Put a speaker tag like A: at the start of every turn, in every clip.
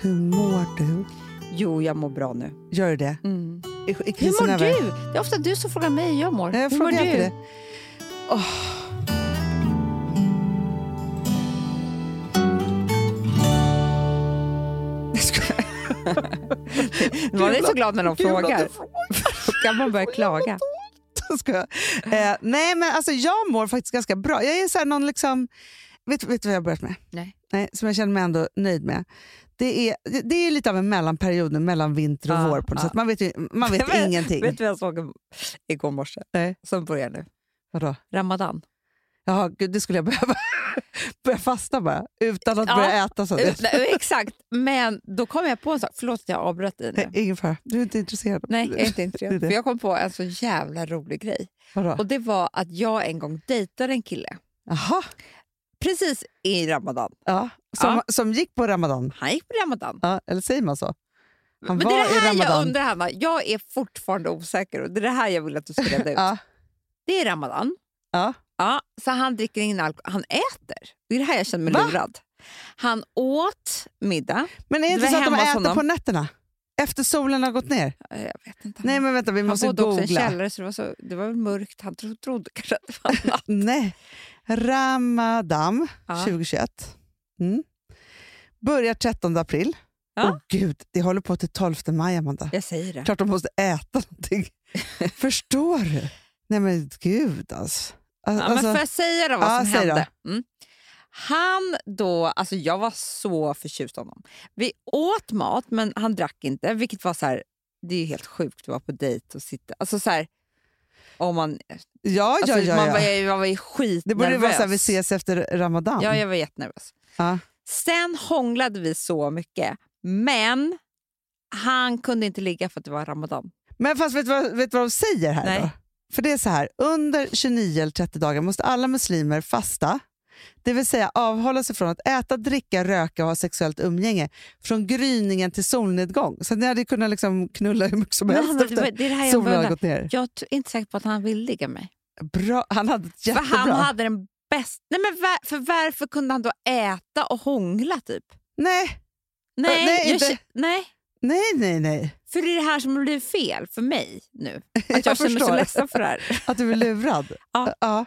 A: Hur mår du?
B: Jo, jag mår bra nu.
A: Gör du det?
B: Mm.
A: Är, är
B: Hur
A: krisen
B: mår
A: över?
B: du? Det är ofta du som frågar mig hur jag mår.
A: Nej, Jag
B: hur mår
A: frågar
B: du?
A: inte det. Jag skojar.
B: Man är
A: Kul
B: så
A: att-
B: glad när de
A: kul att du
B: frågar. Då kan man börja klaga.
A: Jag skojar. Eh, nej, men alltså jag mår faktiskt ganska bra. Jag är så här någon liksom... Vet vet du vad jag har börjat med?
B: Nej.
A: Nej, som jag känner mig ändå nöjd med. Det är, det är lite av en mellanperiod nu, mellan vinter och
B: Ja,
A: vår på något
B: ja.
A: sätt. Man vet, ju, man vet
B: Ah, Men-
A: ingenting.
B: Vet du vad jag såg igår morse?
A: Nej.
B: Som börjar nu.
A: Vadå?
B: Ramadan.
A: Jaha, gud, det skulle jag behöva. Börja fasta bara, utan att
B: Ja.
A: börja äta. Så.
B: Eh, nej, Exakt, men då kom jag på en sak. Förlåt att jag avbröt dig nu.
A: Nej, ingen fara, du är inte intresserad.
B: Nej, eh, jag är inte
A: Det är
B: intresserad.
A: det.
B: För jag kom på en så jävla rolig grej.
A: Vadå?
B: Och det var att jag en gång dejtade en kille.
A: Jaha,
B: Precis i Ramadan.
A: ja. Som,
B: Ja.
A: som gick på ramadan.
B: Han gick på Ramadan.
A: Ja, eller säger man så? Han
B: Men det
A: var
B: är det
A: i
B: här
A: ramadan.
B: jag undrar, Hanna. Jag är fortfarande osäker och det är det här jag vill att du ska reda ut.
A: Ja,
B: Det är Ramadan.
A: Ja.
B: ja. Så han dricker ingen alkohol. Han äter. Det är det här jag känner mig
A: Va?
B: lurad. Han åt middag.
A: Men är det inte
B: Det var
A: så att de
B: hemma hos
A: äter
B: honom.
A: på nätterna? Efter solen har gått ner?
B: Eh, Jag vet inte.
A: Nej, men vänta, vi
B: han
A: måste
B: bodde också i en
A: googla.
B: källare så det var, så, det var väl mörkt. Han tro, trodde kanske att det var natt.
A: Nej. Ramadan
B: Ja.
A: 2021. Mm. Börjar 13 april. Åh
B: Ja.
A: gud, det håller på till 12 maj, Amanda.
B: Jag säger det.
A: Klart de måste äta någonting. Förstår du? Nej men gud alltså. Al-
B: Ja,
A: alltså,
B: men får jag säga då vad
A: Ja,
B: som
A: säg då.
B: hände? Mm. Han då, alltså jag var så förtjust i honom. Vi åt mat men han drack inte, vilket var så här, det är ju helt sjukt att vara på dejt och sitta, alltså så här, om man,
A: ja, ja,
B: alltså, man
A: ja,
B: var
A: ja.
B: ju, man var ju skitnervös.
A: Det borde ju vara så här, vi ses efter Ramadan.
B: Ja, jag var jättenervös.
A: Ja.
B: Sen hånglade vi så mycket, men han kunde inte ligga för att det var ramadan.
A: Men fast vet du vad, vet du vad de säger här
B: Nej.
A: då? För det är så här, under 29 eller 30 dagar måste alla muslimer fasta. Det vill säga avhålla sig från att äta, dricka, röka och ha sexuellt umgänge från gryningen till solnedgång. Så ni hade kunnat liksom knulla hur mycket som
B: Men
A: helst
B: Hanna, det, var,
A: efter
B: det är det här jag
A: solen hade
B: undrar.
A: gått ner.
B: Jag är inte säker på att han vill ligga med mig.
A: Bra. Han hade ett jättebra.
B: För han hade den bästa... Nej, men var, för varför kunde han då äta och hångla typ?
A: Nej,
B: Nej,
A: nej,
B: jag,
A: inte-
B: kä- nej,
A: nej, nej, nej.
B: för det är det här som blir fel för mig nu. Att jag,
A: Jag
B: känner mig så
A: förstår.
B: ledsen för det här.
A: Att du blev lurad.
B: Ja.
A: ja.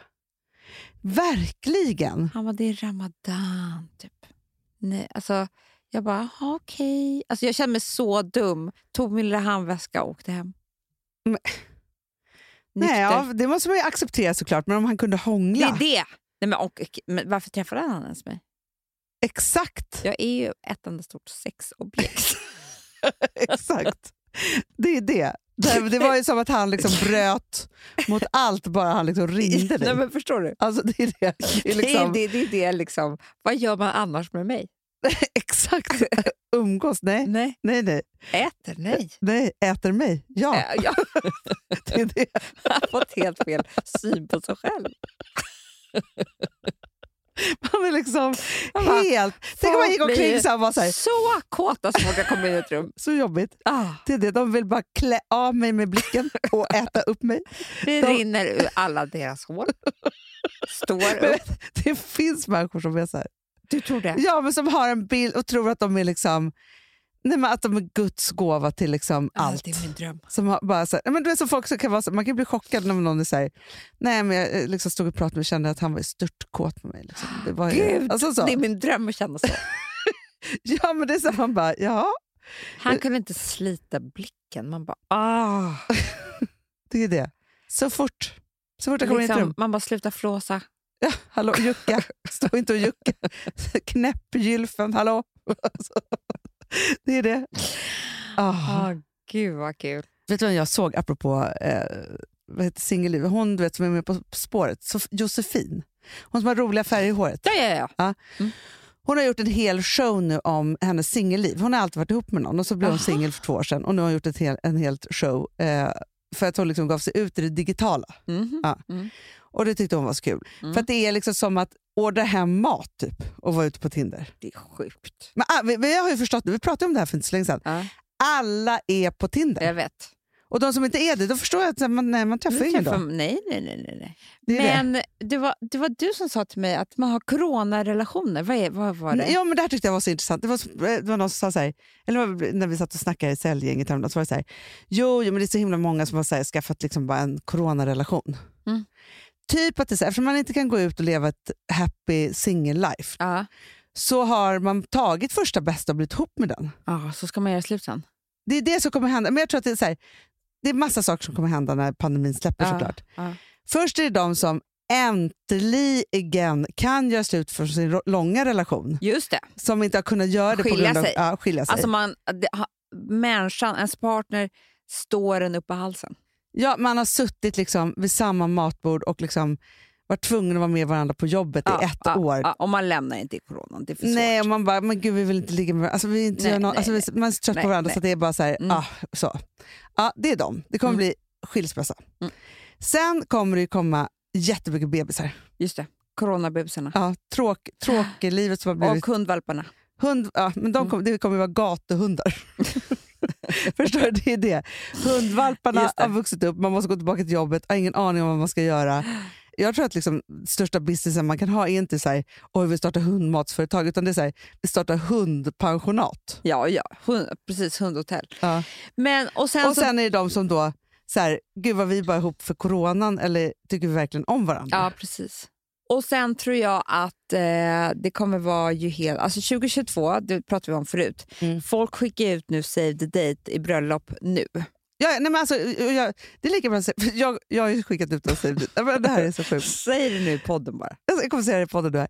A: Verkligen.
B: Han bara, det är ramadan typ. Nej, alltså, jag bara, "Jaha, okej. Alltså, jag kände mig så dum. Tog min lilla handväska och åkte hem.
A: Men-
B: Mm, Nykter.
A: Nej, ja, det måste man ju acceptera såklart, men om han kunde
B: Det
A: hångla.
B: är det. Nej, men, och, och- men varför träffade han ens mig?
A: Exakt.
B: Jag är ju ett enda stort sexobjekt.
A: Exakt. Det är det. Det, det var ju som att han liksom bröt mot allt bara han liksom ringde
B: Nej,
A: dig.
B: men förstår du?
A: Alltså det är det. Det är liksom,
B: Det, är- det, är- det är liksom. Vad gör man annars med mig?
A: Exakt. Umgås? Nej,
B: Nej.
A: nej, nej.
B: Äter? Nej.
A: Eh. nej. Äter mig? Ja,
B: Äh, Jag
A: det är det.
B: har fått helt fel syn på sig själv.
A: Man är liksom
B: Man bara,
A: helt... Tänk om man gick
B: folk blir
A: omkring
B: ju
A: så här och var så här,
B: Så kåta så fort jag kommer in i ett rum.
A: så jobbigt.
B: Ah,
A: Det är det. De vill bara klä av mig med blicken och äta upp mig.
B: det
A: De-
B: rinner ur alla deras hår. Står
A: Men
B: upp.
A: Det finns människor som är så här.
B: Du tror det?
A: Ja, men som har en bild och tror att de är liksom... Nej, men att de är Guds gåva till liksom allt.
B: Det är min dröm.
A: Som har bara så här, nej, men du vet, som folk som kan vara så, man kan bli chockad när någon är så här, nej men jag eh, liksom stod och pratade med och kände att han var störtkåt med mig. Liksom. Det var ju-
B: Gud,
A: alltså så.
B: Det är min dröm att känna så.
A: Ja men det är så här, man bara, ja Eh.
B: Han kunde inte slita blicken. Man bara, ah.
A: det är det. Så fort, så fort jag kommer in i ett
B: Liksom,
A: rum,
B: man bara, sluta flåsa.
A: ja, hallå jucka, stå inte och jucka, knäpp gylfen, hallå. Alltså, det är det. Ah.
B: Ah, gud vad kul.
A: Vet du vem jag såg apropå eh, vad heter singelliv? Hon du vet, som är med På spåret, Sof- Josefin. Hon som har roliga färger i håret.
B: Ja, ja, ja.
A: Hon har gjort en hel show nu om hennes singelliv. Hon har alltid varit ihop med någon och så blev hon
B: Aha.
A: singel för två år sedan och nu har hon gjort ett hel, en hel show eh, för att hon liksom gav sig ut i det digitala.
B: Mhm.
A: Ja.
B: Mm.
A: Och det tyckte hon var så kul.
B: Mm.
A: För att det är liksom som att ordra hem mat typ och vara ute på Tinder.
B: Det är sjukt.
A: Men ah, vi, vi har ju förstått, vi pratade om det här för inte så länge sedan.
B: Ja,
A: Alla är på Tinder.
B: jag vet.
A: Och de som inte är det, då förstår jag att så här, man, nej, man träffar
B: Nu
A: ingen
B: träffar-
A: då.
B: Nej, nej, nej. nej, nej.
A: Det är det.
B: Men det var, det var du som sa till mig att man har coronarelationer. Vad, är, vad var det?
A: Ja, men det här tyckte jag var så intressant. Det var, så, eh, det var någon som sa så här, eller det var när vi satt och snackade i säljgänget häromdagen, så var det så här, jo, jo, men det är så himla många som har så här, skaffat liksom bara en coronarelation.
B: Mm.
A: Typ att det är så här, eftersom man inte kan gå ut och leva ett happy single life
B: Ja.
A: så har man tagit första bästa och blivit ihop med den.
B: ja, så ska man göra slut sen.
A: Det är det som kommer hända. Men jag tror att det är så här, det är massa saker som kommer hända när pandemin släpper
B: Ja,
A: såklart.
B: ja.
A: Först är det de som äntligen kan göra slut för sin ro- långa relation,
B: Just det.
A: som inte har kunnat göra det på
B: Skilja
A: grund av
B: sig.
A: Ja, skilja sig.
B: Alltså man, det, ha, människan, ens partner, står en upp i halsen.
A: Ja, man har suttit liksom vid samma matbord och liksom varit tvungen att vara med varandra på jobbet i ett
B: ja,
A: år.
B: Ja, och man lämnar inte i coronan. Det är för
A: Nej,
B: svårt.
A: och man bara, men gud vi vill inte ligga med varandra. Alltså, vi vill inte
B: Nej,
A: göra något.
B: nej,
A: alltså, vi, man är så trött
B: Nej,
A: på varandra
B: nej.
A: så att det är bara så här,
B: Mm.
A: ah, så. Ja, det är dem. Det kommer
B: Mm.
A: bli skilsmässa.
B: Mm.
A: Sen kommer det ju komma jättemycket bebisar.
B: Just det. Coronabusarna.
A: Ja, tråk, tråklivet som har blivit...
B: Och hundvalparna.
A: Hund, ja, men
B: Mm.
A: de kom, det kommer ju vara gatuhundar. Förstår du? Det är det. Hundvalparna
B: Just det.
A: har vuxit upp, man måste gå tillbaka till jobbet, har ingen aning om vad man ska göra. Jag tror att liksom, största businessen man kan ha är inte så här, oj vi startar hundmatsföretag, utan det är så här, vi startar hundpensionat.
B: Ja, ja. Hund, precis. Hundhotell.
A: Ja.
B: Men, alltså- och sen,
A: Och
B: så,
A: sen är det de som då, så här, gud vad vi bara är ihop för coronan, eller tycker vi verkligen om varandra?
B: ja, precis. Och sen tror jag att eh, det kommer vara ju helt... Alltså 2022, det pratade vi om förut.
A: Mm.
B: Folk skickar ut nu save the date i bröllop nu.
A: Ja, nej, men alltså, jag, det är lika bra att säga, för jag, jag har ju skickat ut oss, det här är så sjukt.
B: Säg det nu i podden bara.
A: Alltså, jag kommer säga det i podden nu. här.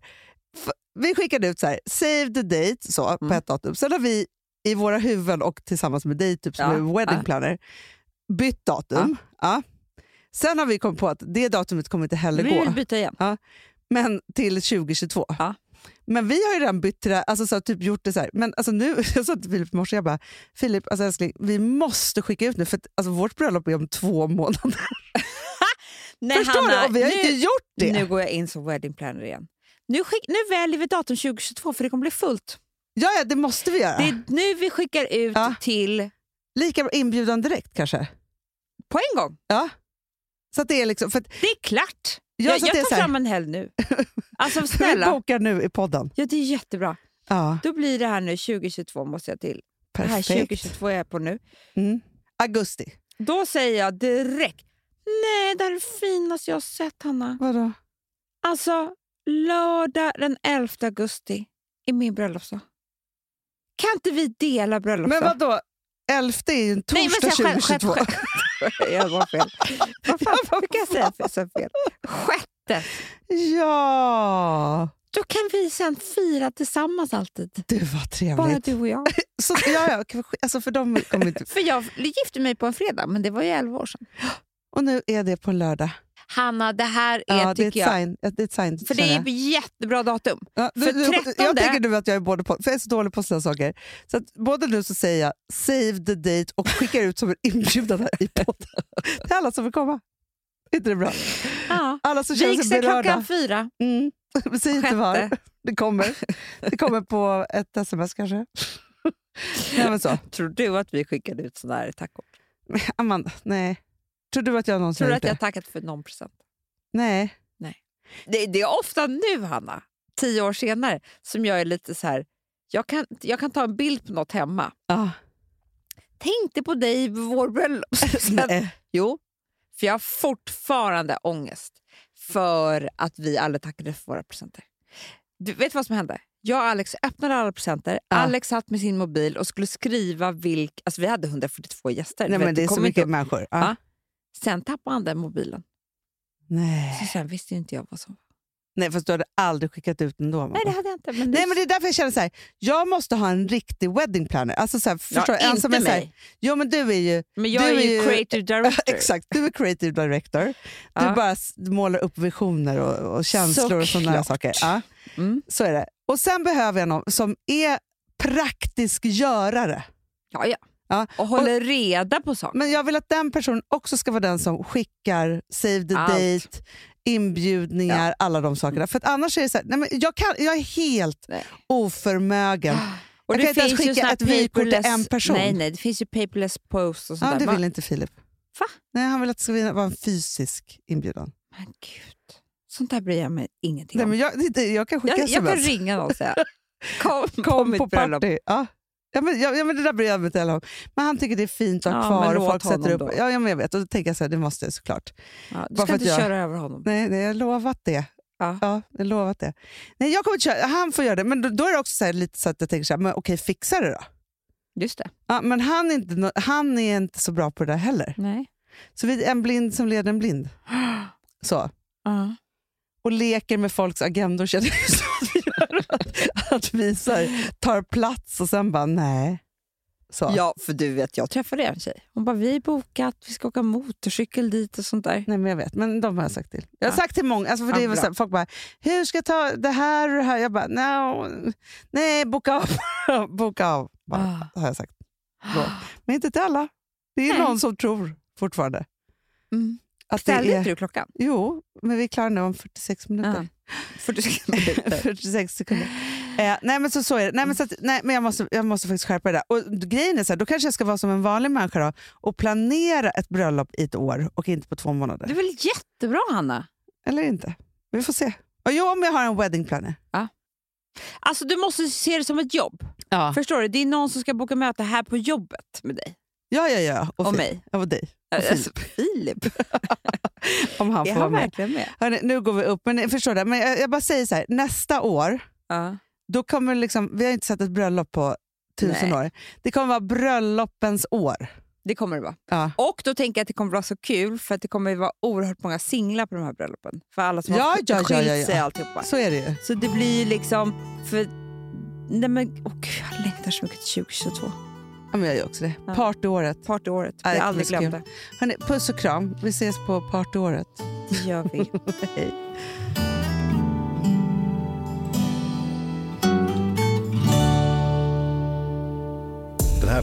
A: F- Vi skickade ut så här, save the date så, på
B: Mm.
A: ett datum. Sen har vi i våra huvuden och tillsammans med dig typ, som
B: Ja,
A: är wedding
B: ja.
A: planner bytt datum. Ja. Sen har vi kommit på att det datumet kommer inte heller
B: Vi
A: gå,
B: vill byta igen.
A: men till 2022.
B: Ja.
A: Men vi har ju redan bytt till det här, alltså, så, här, typ gjort det så här. Men alltså, nu, jag sa till Filip i morse, jag bara, Filip alltså, älskling, vi måste skicka ut nu för att, alltså, vårt bröllop är om två månader.
B: Nej,
A: Förstår
B: Hanna,
A: du? Och vi har
B: nu,
A: inte gjort det.
B: nu går jag in som wedding planner igen. Nu, skick, nu väljer vi datum 2022 för det kommer bli fullt.
A: Ja, ja, det måste vi göra.
B: Det är nu vi skickar ut
A: Ja.
B: till
A: Lika bra inbjudan direkt kanske.
B: på en gång.
A: Så att det är liksom, för att
B: Det är klart.
A: Ja,
B: jag
A: så
B: jag
A: det är
B: tar
A: så här-
B: fram en helg nu. Alltså
A: Vi
B: snälla.
A: bokar nu i podden.
B: Ja, det är jättebra.
A: Ja,
B: Då blir det här nu 2022 måste jag till. Det här 2022 är jag på nu.
A: Mm. Augusti.
B: Då säger jag direkt. Nej, det här är det finaste jag har sett Hanna.
A: Vadå?
B: Alltså lördag den 11 augusti är min bröllopsdag. Kan inte vi dela bröllopsdag?
A: Men vadå? 11 är ju en torsdag
B: Nej, men säg själv-
A: 2022.
B: själv- själv- jag var fel. Vad fan,
A: Ja, vad
B: hur kan jag säga fel? Så fel? Sjätte.
A: Ja,
B: Då kan vi sen fira tillsammans alltid.
A: du vad
B: Bara
A: trevligt.
B: du och jag.
A: Så, ja, ja, kan vi sk- alltså för de kommer inte...
B: För jag gifte mig på en fredag, men det var ju 11 år sedan.
A: Och nu är det på lördag.
B: Hanna, det här är,
A: Ja, det, är ett
B: tycker jag...
A: sign, det är ett sign.
B: För det
A: känner
B: är
A: jag.
B: ett jättebra datum.
A: Ja, nu,
B: för
A: nu, jag
B: 13:e.
A: tänker nu att jag är både på, för jag är så dålig på sådana saker. Så att både nu så säger jag save the date och skickar ut som en inbjudan här i podden. Till alla som vill komma. Är inte det bra?
B: Ja.
A: Alla som känner sig
B: Vigseln
A: berörda.
B: klockan fyra.
A: Mm. Säg inte var.
B: Sjätte.
A: Det kommer. Det kommer på ett sms kanske. Nej, men så.
B: Tror du att vi skickade ut sådana här tackkort?
A: Amanda, nej. Tror du att jag någonsin
B: Tror
A: har
B: du
A: gjort
B: att jag
A: det?
B: tackat för någon present?
A: Nej.
B: Det, det är ofta nu, Hanna, tio år senare, som jag är lite så här... Jag kan, jag kan ta en bild på något hemma.
A: Ah,
B: Tänkte på dig i vår bröllopspresent.
A: nej.
B: Jo, för jag har fortfarande ångest för att vi aldrig tackade för våra presenter. Du vet vad som hände? Jag och Alex öppnade alla presenter.
A: Ja.
B: Alex satt med sin mobil och skulle skriva vilka... Alltså vi hade 142 gäster. Du
A: nej
B: vet,
A: men det är så
B: kom inte
A: mycket
B: upp.
A: människor. Ah.
B: Ja. Sen tappade han den mobilen. Så
A: Nej.
B: sen visste ju inte jag vad som...
A: nej, fast du hade aldrig skickat ut ändå. Amanda.
B: Nej, det hade jag inte. Men
A: Nej, men det är därför jag känner så här. jag måste ha en riktig wedding planner. Alltså så här, förstår du?
B: ja,
A: En
B: inte
A: som är så här,
B: mig.
A: jo men du är ju,
B: Men jag
A: Du
B: är ju,
A: är ju-
B: creative director.
A: exakt, du är creative director. Du
B: Ja.
A: bara s- målar upp visioner och, och känslor och sådana här
B: Såklart.
A: saker. Ja.
B: Mm.
A: Så är det. Och sen behöver jag någon som är praktisk görare.
B: Ja, ja.
A: Ja,
B: Och håller reda på saker.
A: Men jag vill att den personen också ska vara den som skickar save the
B: Allt.
A: date, inbjudningar, alla de sakerna. För att annars är det så här, nej men jag, kan, jag är helt
B: Nej. Ah,
A: oförmögen.
B: Och
A: Jag kan inte ens skicka
B: såna
A: ett vykort till
B: paperless-
A: en person.
B: Nej, nej, det finns ju paperless post och sånt
A: Ja,
B: där.
A: det
B: Man-
A: vill inte Filip.
B: Va?
A: Nej, han vill att det ska vara en fysisk inbjudan.
B: Men gud. Sånt där bryr jag mig ingenting
A: Nej,
B: om.
A: men jag, det- det- jag kan skicka
B: Jag, jag kan
A: sms.
B: ringa någon och säga kom, kom, mitt
A: på
B: bröllop.
A: party. Ja. Ja, men, ja, ja, men det där bryr jag mig inte heller om. Men han tycker det är fint att ha
B: Ja,
A: kvar
B: men
A: och
B: låt
A: folk sätter
B: honom
A: upp...
B: då.
A: Ja, ja, men jag vet. Och då tänker jag så här, det måste jag såklart.
B: Ja, du
A: Bara för
B: ska
A: att
B: inte
A: jag-
B: köra över honom.
A: Nej, nej jag har lovat det.
B: Ja.
A: Ja, jag har lovat det. Nej, jag kommer inte köra. Han får göra det. Men då, då är det också så här, lite så att jag tänker så här, men okej, fixa det då.
B: Just det.
A: Ja, men han är, inte, nå- han är inte så bra på det där heller.
B: Nej.
A: Så vi är en blind som leder en blind. Så.
B: Ja.
A: Och leker med folks agendor känner jag så att vi gör. Att, att vi så här, tar plats och sen bara, nej. Så.
B: ja, för du vet, jag träffade en tjej. Hon bara, vi är bokat, vi ska åka motorcykel dit och sånt där.
A: Nej, men jag vet. Men de har jag sagt till. Jag har
B: Ja.
A: sagt till många. Alltså för det
B: Ja,
A: är väl
B: bra.
A: så här, folk bara, hur ska jag ta det här och det här? Jag bara, no. nej, boka av. boka av, bara,
B: Ah.
A: har jag sagt. Då. Men inte till alla. Det är
B: Nej.
A: någon som tror fortfarande.
B: Mm.
A: Att det
B: Ställde
A: är...
B: inte du klockan?
A: Jo, men vi är klara nu om 46 minuter.
B: För Mm. du ska inte.
A: 46 sekunder. Eh, nej, men så, så är det. Nej, men, så att, nej, men jag, måste, jag måste faktiskt skärpa det där. Och grejen är så här, då kanske jag ska vara som en vanlig människa då, och planera ett bröllop i ett år och inte på två månader.
B: Det är väl jättebra, Hanna?
A: Eller inte. Vi får se. Och jo, om jag har en wedding planner.
B: Alltså, du måste se det som ett jobb.
A: Ja,
B: Förstår du? Det är någon som ska boka möte här på jobbet med dig
A: ja, ja. ja. Och, Filip.
B: och, mig.
A: Ja, och dig. Filip.
B: Alltså, Filip,
A: Om han
B: är
A: får vara
B: han
A: med.
B: verkligen med?
A: Hörrni, nu går vi upp. Men, ni förstår det. Men jag, jag bara säger så här, nästa år,
B: Ja.
A: då kommer liksom, vi har inte sett ett bröllop på tusen
B: Nej.
A: år. Det kommer vara bröllopens år.
B: Det kommer det vara.
A: Ja.
B: Och då tänker jag att det kommer vara så kul för att det kommer vara oerhört många singlar på de här bröllopen. För alla som
A: Ja,
B: har
A: ja, ja,
B: skilt
A: ja, ja.
B: sig och alltihopa.
A: Så är det ju.
B: Så det blir liksom... För, nej men, åh gud, jag längtar så mycket till 2022.
A: Ja, men jag gör också det.
B: Ja.
A: Partyåret.
B: Partyåret.
A: Ja, det
B: Vi
A: kommer
B: aldrig
A: bli så kul.
B: glömda.
A: Hörrni, puss och kram. Vi ses på partyåret.
B: Det gör vi.
A: Hej.
C: Den här